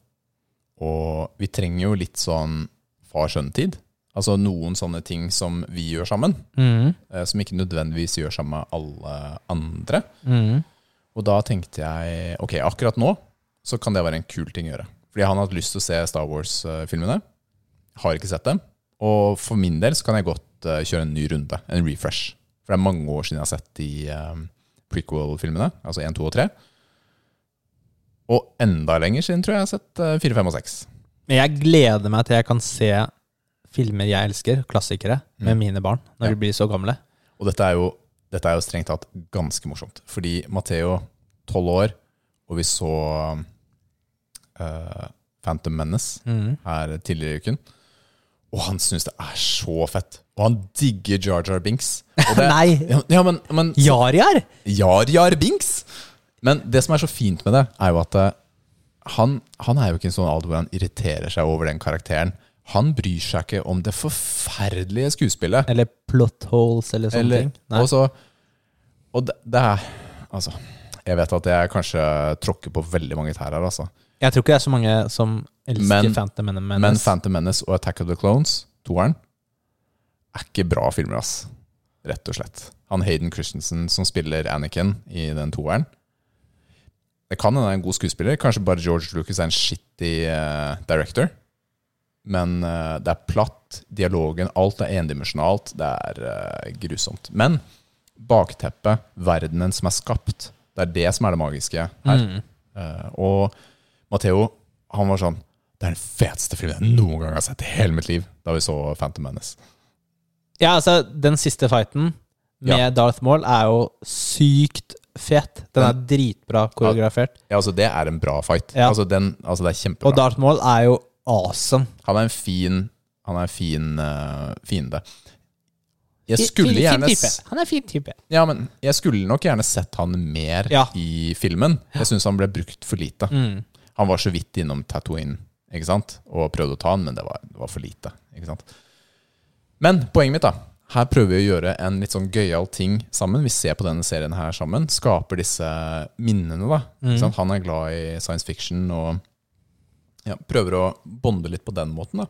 og vi trenger jo litt sånn far-sønn-tid. Altså noen sånne ting som vi gjør sammen,
Mhm,
eh, som ikke nødvendigvis gjør sammen med alle andre.
mhm.
Og da tenkte jeg ok, akkurat nå så kan det være en kul ting å gjøre. Fordi han har hatt lyst til å se Star Wars-filmene. Har ikke sett dem. Og for min del så kan jeg godt eh, kjøre en ny runde, en refresh. For det er mange år siden jeg har sett de eh, prequel-filmene, altså 1, 2 og 3. Og enda lenger siden tror jeg jeg har sett eh, 4, 5 og 6.
Men jeg gleder meg til jeg kan se filmer jeg elsker, klassikere, med
Mm.
mine barn når
Ja.
de blir så gamle.
Og dette er jo, dette er jo strengt tatt ganske morsomt. Fordi Matheo, 12 år, og vi så eh, Phantom Menace.
Mhm.
her tidligere i uken. Og han syns det er så fett. Og han digger Jar Jar Binks. Og det,
Nei!
Ja, men, men
Jariar!
Jar Jar Binks! Men det som er så fint med det, er jo at eh, han, han er jo ikke en sånn alder hvor han irriterer seg over den karakteren. Han bryr seg ikke om det forferdelige skuespillet.
Eller plot holes, eller sånne
Eller,
ting. Nei.
og så, og det, det er Altså, jeg vet at jeg kanskje tråkker på veldig mange tær her, altså.
Jeg tror ikke det er så mange som elsker
Men-
Phantom Menace.
Men Phantom Menace og Attack of the Clones, toeren, er ikke bra filmer, ass. Rett og slett. Han Hayden Christensen som spiller Anakin i den toeren. Det kan hende han er en god skuespiller. Kanskje bare George Lucas er en shitty eh, director. Men eh, det er platt. Dialogen, alt er endimensjonalt. Det er eh, grusomt. Men bakteppet, verdenen som er skapt, det er det som er det magiske her.
Mm.
Eh, og Matheo, han var sånn Det er den feteste filmen jeg noen gang har sett i hele mitt liv. Da vi så Phantom Menace.
Ja, altså, den siste fighten med
Ja.
Darth Maul er jo sykt fet. Den er dritbra koreografert.
Ja, altså Det er en bra fight.
Ja.
Altså, den, altså Det er
Og
kjempebra.
Darth Maul er jo awesome.
Han er en fin Han er en fin eh, fiende. Jeg
Fin-
skulle
fin- fin
gjerne
type.
s-
Han er fin type.
Ja, men jeg skulle nok gjerne sett han mer
Ja.
i filmen. Jeg syns han ble brukt for lite.
Mm.
Han var så vidt innom Tatooine ikke sant? og prøvde å ta han, men det var, det var for lite. Ikke sant? Men poenget mitt, da. Her prøver vi å gjøre en litt sånn gøyal ting sammen. Vi ser på denne serien her sammen. Skaper disse minnene, da. Ikke sant? Han er glad i science fiction og ja, prøver å bonde litt på den måten, da.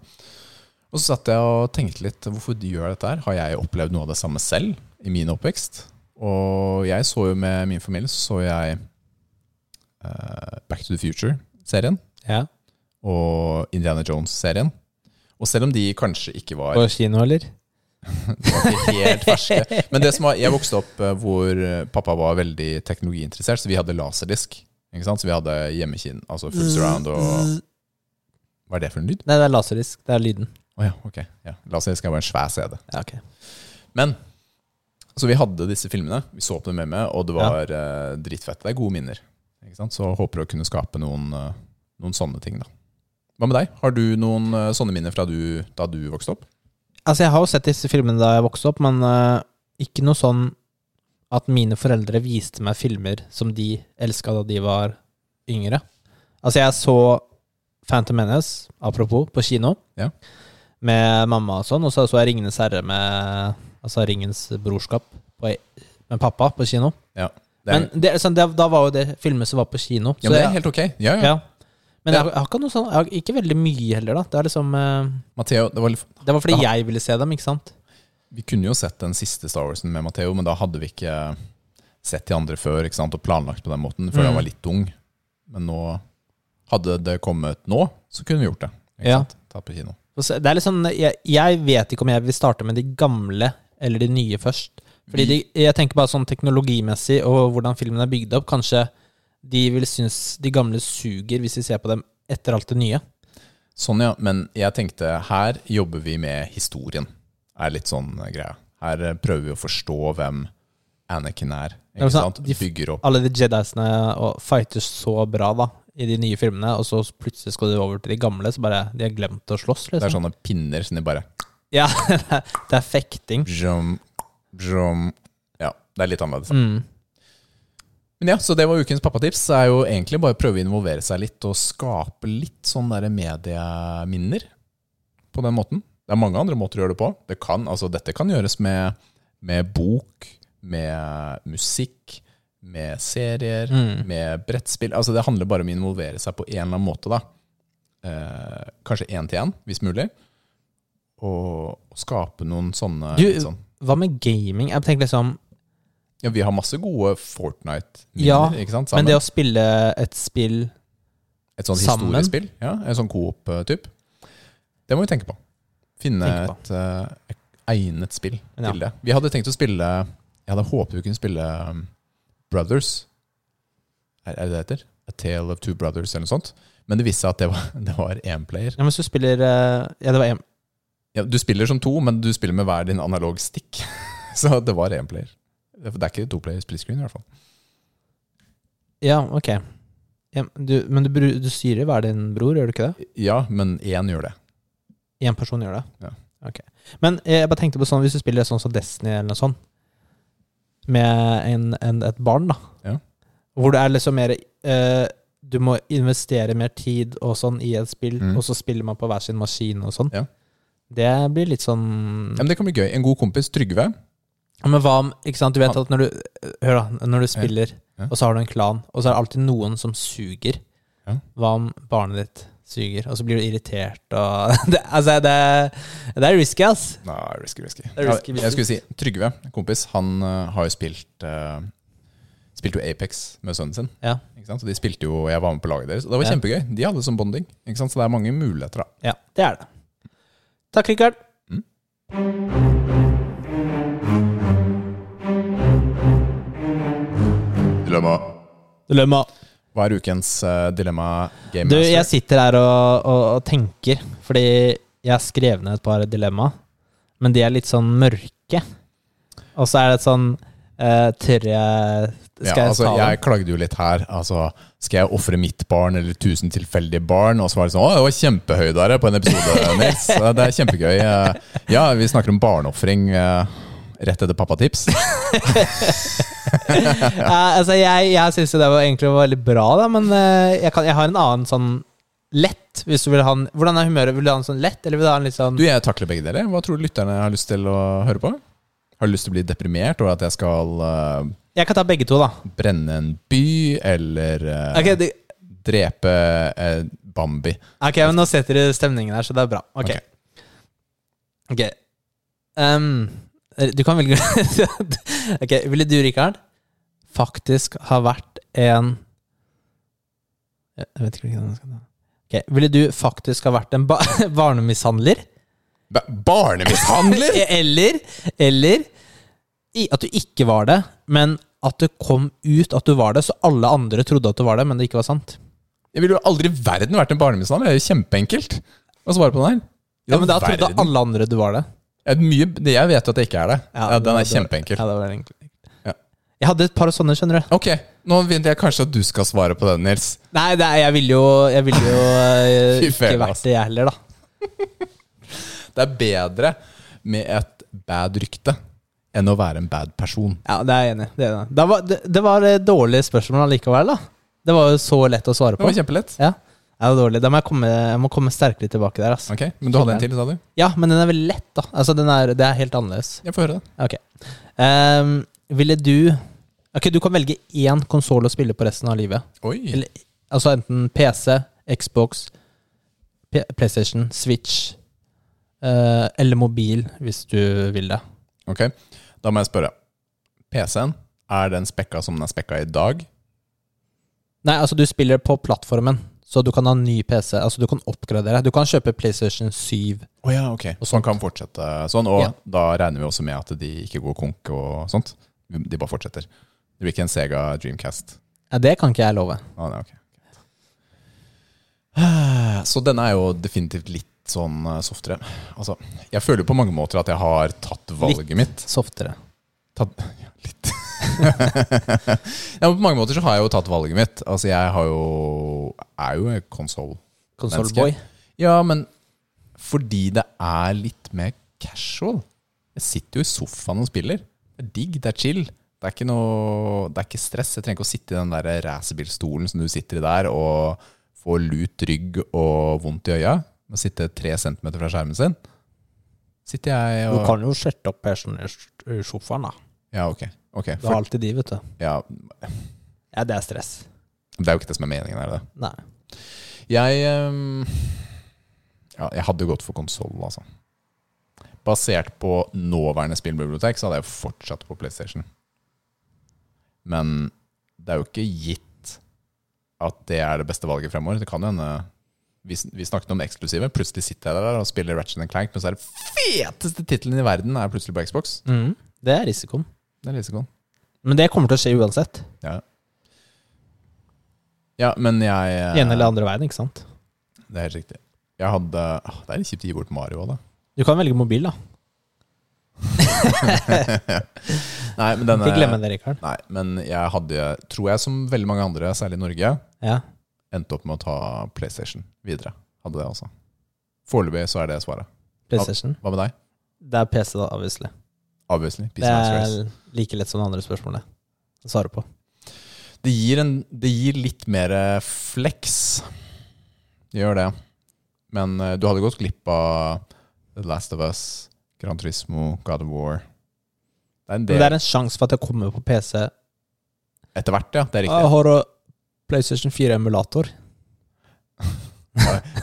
Og så satt jeg og tenkte litt hvorfor de gjør dette her. Har jeg opplevd noe av det samme selv i min oppvekst? Og jeg så jo med min familie så så jeg eh, Back to the Future-serien
Ja.
og Indiana Jones-serien. Og selv om de kanskje ikke var,
På kino, eller?
var ikke helt ferske Men det som var, jeg vokste opp eh, hvor eh, pappa var veldig teknologiinteressert, så vi hadde laserdisk. Ikke sant? Så vi hadde hjemmekinn, altså
Mm.
full surround og
Zzz.
Hva er det for en lyd?
Nei, det er laserdisk. Det er lyden.
Å ja, ok. Ja. Laserdisk er bare en svær CD.
Ja, ok.
Men så vi hadde disse filmene, vi så på dem hjemme, og det var eh, dritfett. Det er gode minner. Ikke sant? Så håper å kunne skape noen, eh, noen sånne ting, da. Hva med deg? Har du noen eh, sånne minner fra du, da du vokste opp?
Altså, jeg har jo sett disse filmene da jeg vokste opp, men eh, ikke noe sånn at mine foreldre viste meg filmer som de elska da de var yngre. Altså, jeg så Phantom Menace, apropos, på kino
Ja.
med mamma og sånn, og så så jeg Ringenes herre med Altså Ringens brorskap på, e, med pappa på kino.
Ja. Det er,
Men det, er sånn, det, da var jo det filmer som var på kino.
ja, men det
jeg-
er helt ok. Ja, ja.
ja. Men
Ja.
jeg, jeg har ikke noe sånn Jeg har ikke veldig mye heller, da. Det er liksom eh,
Matteo, det var litt,
Det var fordi
Da-
jeg ville se dem, ikke sant?
vi kunne jo sett den siste Star Warsen med Matteo, men da hadde vi ikke sett de andre før ikke sant? og planlagt på den måten, før
Mm.
han var litt ung. Men nå Hadde det kommet nå, så kunne vi gjort det. Ikke
Ja.
sant? Tatt på kino.
Og så- Det er litt sånn, jeg, jeg vet ikke om jeg vil starte med de gamle eller de nye først. Fordi de, jeg tenker bare sånn teknologimessig og hvordan filmen er bygd opp. Kanskje de vil synes de gamle suger hvis de ser på dem etter alt det nye.
Sånn, ja. Men jeg tenkte her jobber vi med historien. er litt sånn eh, greia. Her eh, prøver vi å forstå hvem Anakin er.
Ja, men
Ikke
sånn,
sant?
de f-
Bygger opp
Alle de Jediene og fighter så bra da i de nye filmene, og så plutselig skal du over til de gamle, så bare de har glemt å slåss,
Det er sånn.
liksom.
sånne pinner som de bare
Ja, det er, det er fekting.
brum, brum. Ja, det er litt annerledes.
Mm.
Men ja, så det var ukens pappatips. Det er jo egentlig bare å prøve å involvere seg litt og skape litt sånn derre medieminner på den måten. Det er mange andre måter å gjøre det på. Det kan, altså, dette kan gjøres med, med bok, med musikk, med serier,
Mm.
med brettspill. Altså, det handler bare om å involvere seg på en eller annen måte, da. Eh, kanskje én til én, hvis mulig. Og, og skape noen sånne
Du-
litt sånn.
Hva med gaming? Jeg tenker liksom
Ja, vi har masse gode Fortnite-minner,
Ja,
ikke sant?
Men det å spille et spill
Et sånt
Sammen.
historiespill? Ja, en sånn coop-typ. Det må vi tenke på. Finne
Tenke på.
Et, eh, et egnet spill
Ja.
til det. Vi hadde tenkt å spille Jeg hadde håpet vi kunne spille um, Brothers. Er, er det det heter? A Tale of Two Brothers eller noe sånt. Men det viste seg at det var- det var én player.
Ja, men hvis du spiller eh, Ja, det var en
Ja, du spiller som to, men du spiller med hver din analog stick. Så det var én player. Det er ikke to player split screen, i hvert fall.
Ja, ok. Ja, men du, men du, bru- du styrer hver din bror, gjør du ikke det?
Ja, men én gjør det.
Én person gjør det?
Ja.
Ok. Men eh, jeg bare tenkte på sånn, hvis du spiller sånn som Destiny eller noe sånt, med en, en, et barn, da,
Ja.
hvor det er liksom mer eh, Du må investere mer tid og sånn i et spill,
Mm.
og så spiller man på hver sin maskin og sånn.
Ja.
Det blir litt sånn
Ja, men det kan bli gøy. En god kompis, Trygve,
Ja, Men hva om ikke sant, Du vet at når du Hør, da. Når du spiller,
Ja.
og så har du en klan, og så er det alltid noen som suger.
Ja.
Hva om barnet ditt suger, og så blir du irritert og det, Altså, det, det er risky, ass.
Nei, risky, risky.
er risky
Ja, jeg
business.
skulle si Trygve, kompis, han eh, har jo spilt eh, Spilte jo Apex med sønnen sin.
Ja.
Ikke sant? Så de spilte jo, og Jeg var med på laget deres, og det var
Ja.
kjempegøy. De hadde som bonding. Ikke sant? Så det er mange muligheter. da
Ja, det er det. Takk, Rikard.
Mm. Dilemma.
Dilemma.
Hva er ukens eh, dilemma? Game
Du,
Master?
jeg sitter her og, og, og tenker, fordi jeg har skrevet ned et par dilemma, men de er litt sånn mørke. Og så er det et sånn eh, Tør jeg Skal
ja,
jeg
altså,
ta dem?
jeg klagde jo litt her. Altså, skal jeg ofre mitt barn eller tusen tilfeldige barn? Og så var det sånn Å, det var kjempehøydere på en episode, Nils. Ja, Det er kjempegøy. Eh, Ja, vi snakker om barneofring eh, rett etter pappatips.
Ja, altså, jeg jeg syns jo det var egentlig var veldig bra, da, men eh, jeg, kan, jeg har en annen sånn lett. Hvis du vil ha en, hvordan er humøret? Vil du ha en sånn lett, eller vil du ha en litt sånn
Du, jeg takler begge deler. Hva tror du lytterne har lyst til å høre på? Har du lyst til å bli deprimert over at jeg skal eh,
Jeg kan ta begge to, da.
brenne en by, eller eh,
Ok, det,
drepe eh, Bambi?
ok, men nå setter du stemningen her, så det er bra. Ok.
Ok.
Ok. Ehm, du kan velge Ok, ville du, Rikard, faktisk ha vært en Jeg vet ikke hvilken jeg skal ta. Ok, Ville du faktisk ha vært en ba barnemishandler?
Ba barnemishandler!
Eller, eller i- at du ikke var det, men at det kom ut at du var det, så alle andre trodde at du var det, men det ikke var sant.
Jeg ville jo aldri i verden vært en barnemishandler. Det er jo kjempeenkelt å svare på den her. I
Ja, men da
all
trodde
verden.
alle andre du var det.
Jeg, vet mye, det- jeg vet jo at det ikke er det. Ja,
Ja,
den er
det- det-
kjempeenkel.
Ja, det var egentlig.
Ja.
Jeg hadde et par sånne, skjønner du.
Ok, nå vil jeg kanskje at du skal svare på den, Nils.
Nei, det, er- jeg ville jo, jeg ville jo eh,
Fy altså.
ikke
fela,
vært
ass.
det, jeg heller, da.
Det er bedre med et bad rykte enn å være en bad person.
Ja, det er jeg enig i. Det, er det. Da var, det, det var eh, dårlige spørsmål allikevel, da. Det var jo så lett å svare
Det var
på.
kjempelett.
Ja, det var dårlig. Da må jeg komme, jeg må komme sterkere tilbake der, altså.
Ok, Men du hadde en til, sa du?
Ja, men den er veldig lett, da. Altså, den er, det er helt annerledes.
Jeg får høre det.
Ok. Ehm, ville du Ok, du kan velge én konsoll å spille på resten av livet.
Oi.
Eller, altså enten PC, Xbox, P PlayStation, Switch eh, eller mobil, hvis du vil det.
Ok, Da må jeg spørre. PC-en, er den spekka som den er spekka i dag?
Nei, altså du spiller på plattformen Så du kan ha en ny PC. Altså, du kan oppgradere. Du kan kjøpe PlayStation 7.
Å ja, ok. Og sånn kan fortsette sånn. Og
Ja.
da regner vi også med at de ikke går konk og sånt. De bare fortsetter. Det blir ikke en Sega Dreamcast.
Ja, det kan ikke jeg love.
Ah, nei, ok. Så denne er jo definitivt litt sånn eh, softere. Altså, jeg føler på mange måter at jeg har tatt valget mitt.
Softere.
Tatt, ja, litt. ja, men på mange måter så har jeg jo tatt valget mitt. Altså, jeg har jo, er jo en konsoll.
Konsolboy.
Ja, men fordi det er litt mer casual. Jeg sitter jo i sofaen og spiller. Det er digg, det er chill. Det er ikke, noe, det er ikke stress. Jeg trenger ikke å sitte i den der racerbilstolen som du sitter i der, og få lut rygg og vondt i øya. Å sitte tre centimeter fra skjermen sin. Sitter jeg
Du
og
kan jo sette opp PC-en i s- i sofaen, da.
Ja, ok. ok.
Det er
For,
alltid de, vet du.
ja,
Ja, det er stress.
det er jo ikke det som er meningen, er det det?
Nei.
Jeg ehm, ja, Jeg hadde jo gått for konsoll, altså. Basert på nåværende spillbibliotek, så hadde jeg jo fortsatt på PlayStation. Men det er jo ikke gitt at det er det beste valget fremover. Det kan jo hende vi, sn- vi snakket om det eksklusive. Plutselig sitter jeg der og spiller Ratchet and Clank, men så er det feteste tittelen i verden er plutselig på Xbox.
Mhm. Det er risikoen.
Det er sånn. risikoen.
Men det kommer til å skje uansett.
Ja, ja men jeg eh,
Ene eller andre veien, ikke sant?
Det er helt riktig. Jeg hadde Åh, Det er litt kjipt å gi bort Mario òg, da.
Du kan velge mobil, da.
Nei, men denne,
Ikke glemme det, Rikard.
Nei, men jeg hadde, tror jeg som veldig mange andre, særlig i Norge,
Ja.
endte opp med å ta PlayStation videre. Hadde det også. Foreløpig så er det svaret.
PlayStation.
Hva med deg?
Det er PC, da, obviously.
Obviously.
Det
PC Master Race.
er like lett som det andre spørsmålet å svare på.
Det gir, en, det gir litt mer eh, flex. Det gjør det. Men eh, du hadde gått glipp av The Last of Us, Gran Turismo, God of War. Det er en
Men det
del
er en sjanse for at jeg kommer på PC.
etter hvert, ja. Det er
Jeg
riktig.
har også PlayStation 4-emulator.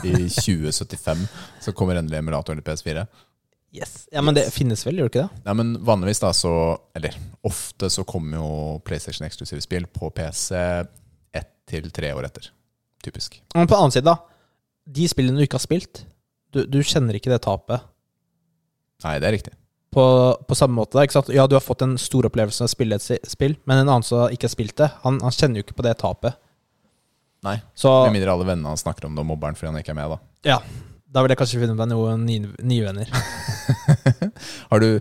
I 2075 så kommer endelig emulatoren til PS4.
Yes. Ja, men det finnes vel, gjør det ikke det?
Nei, men vanligvis da så Eller ofte så kommer jo PlayStation eksklusive spill på PC ett til tre år etter. Typisk.
Men på den annen side, da. De spillene du ikke har spilt, du, du kjenner ikke det tapet.
Nei, det er riktig.
På, på samme måte, da, ikke sant? Ja, du har fått en stor opplevelse av å spille et si- spill, men en annen som ikke har spilt det, han, han kjenner jo ikke på det tapet.
Nei.
Så
Med mindre alle vennene hans snakker om det og mobber han fordi han ikke er med, da.
ja, da vil jeg kanskje finne meg noen ny- nye venner.
Har du,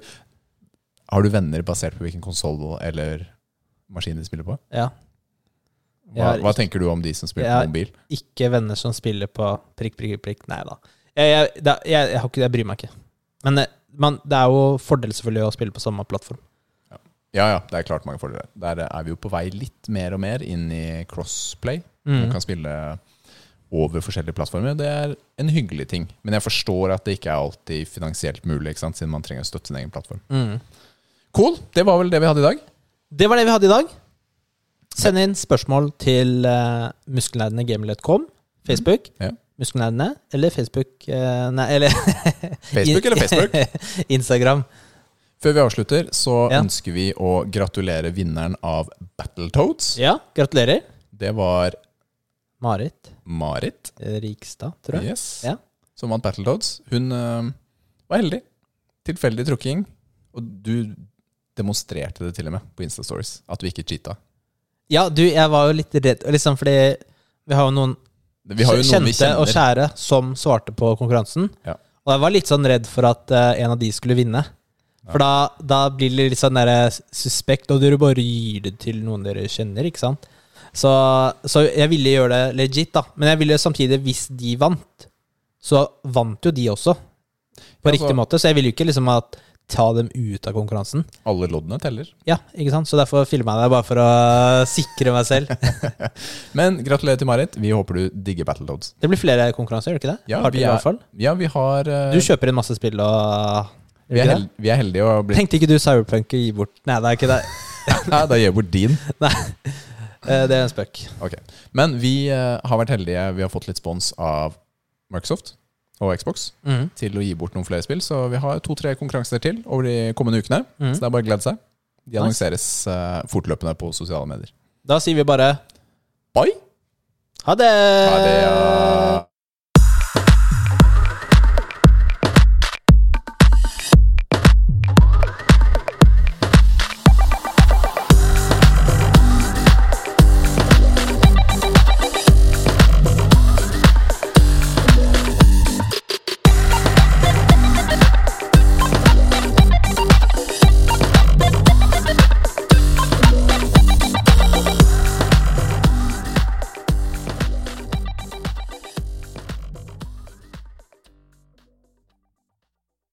har du venner basert på hvilken konsoll eller maskin de spiller på?
Ja. Jeg
Hva,
har
hva tenker du om de som spiller
Jeg har-
på mobil?
ikke venner som spiller på prikk, prikk, prikk. Nei da. Jeg, jeg, da- jeg, jeg, har ikke, jeg bryr meg ikke. Men eh, man, det er jo fordel selvfølgelig å spille på samme plattform.
Ja ja, det er klart mange fordeler. Der er vi jo på vei litt mer og mer inn i crossplay.
Mm.
Man kan spille over forskjellige plattformer. Det er en hyggelig ting. Men jeg forstår at det ikke er alltid finansielt mulig, ikke sant? siden man trenger å støtte sin egen plattform.
Mm.
Cool. Det var vel det vi hadde i dag.
Det var det vi hadde i dag. Send inn spørsmål til uh, muskelnerdene.gmil.com, Facebook,
Mm. Ja.
Muskelnerdene, eller Facebook eh, Nei, eller
Facebook eller Facebook?
Instagram.
Før vi avslutter, så
Ja.
ønsker vi å gratulere vinneren av Battletoads.
Ja, gratulerer.
Det var
Marit
Marit,
Rikstad, tror jeg.
yes,
Ja.
som vant Battletoads. Hun eh, var heldig. Tilfeldig trukking. Og du demonstrerte det til og med på Insta Stories, at du ikke cheata.
Ja, du, jeg var jo litt redd, liksom fordi vi har jo noen
Vi har jo noen vi
kjente og
kjenner.
kjære som svarte på konkurransen.
Ja.
Og jeg var litt sånn redd for at eh, en av de skulle vinne. For da, da blir det litt sånn der suspekt, og dere bare gir det til noen dere kjenner, ikke sant? Så, så jeg ville gjøre det legit, da. Men jeg ville samtidig, hvis de vant, så vant jo de også. På
Ja, så-
riktig måte. Så jeg ville jo ikke liksom at ta dem ut av konkurransen.
Alle loddene teller.
Ja, ikke sant? Så derfor filma jeg det, bare for å sikre meg selv.
Men gratulerer til Marit. Vi håper du digger Battletoads.
Det blir flere konkurranser, gjør det ikke det?
Ja,
Par til i
vi er-
hvert fall.
Ja, vi har eh,
Du kjøper inn masse spill og
vi, er held, vi er heldige og har blitt
Tenkte ikke du Cyberpunk å gi bort Nei, det er ikke det.
Nei, da gjør jeg bort din.
Eh, Det er en spøk.
Ok. Men vi eh, har vært heldige. Vi har fått litt spons av Microsoft og Xbox til å gi bort noen flere spill. Så vi har to-tre konkurranser til over de kommende ukene.
Mhm.
Så det er bare å glede seg. De
Nice.
annonseres eh, fortløpende på sosiale medier.
Da sier vi bare
Bye!
Ha det!
Ha det, ja.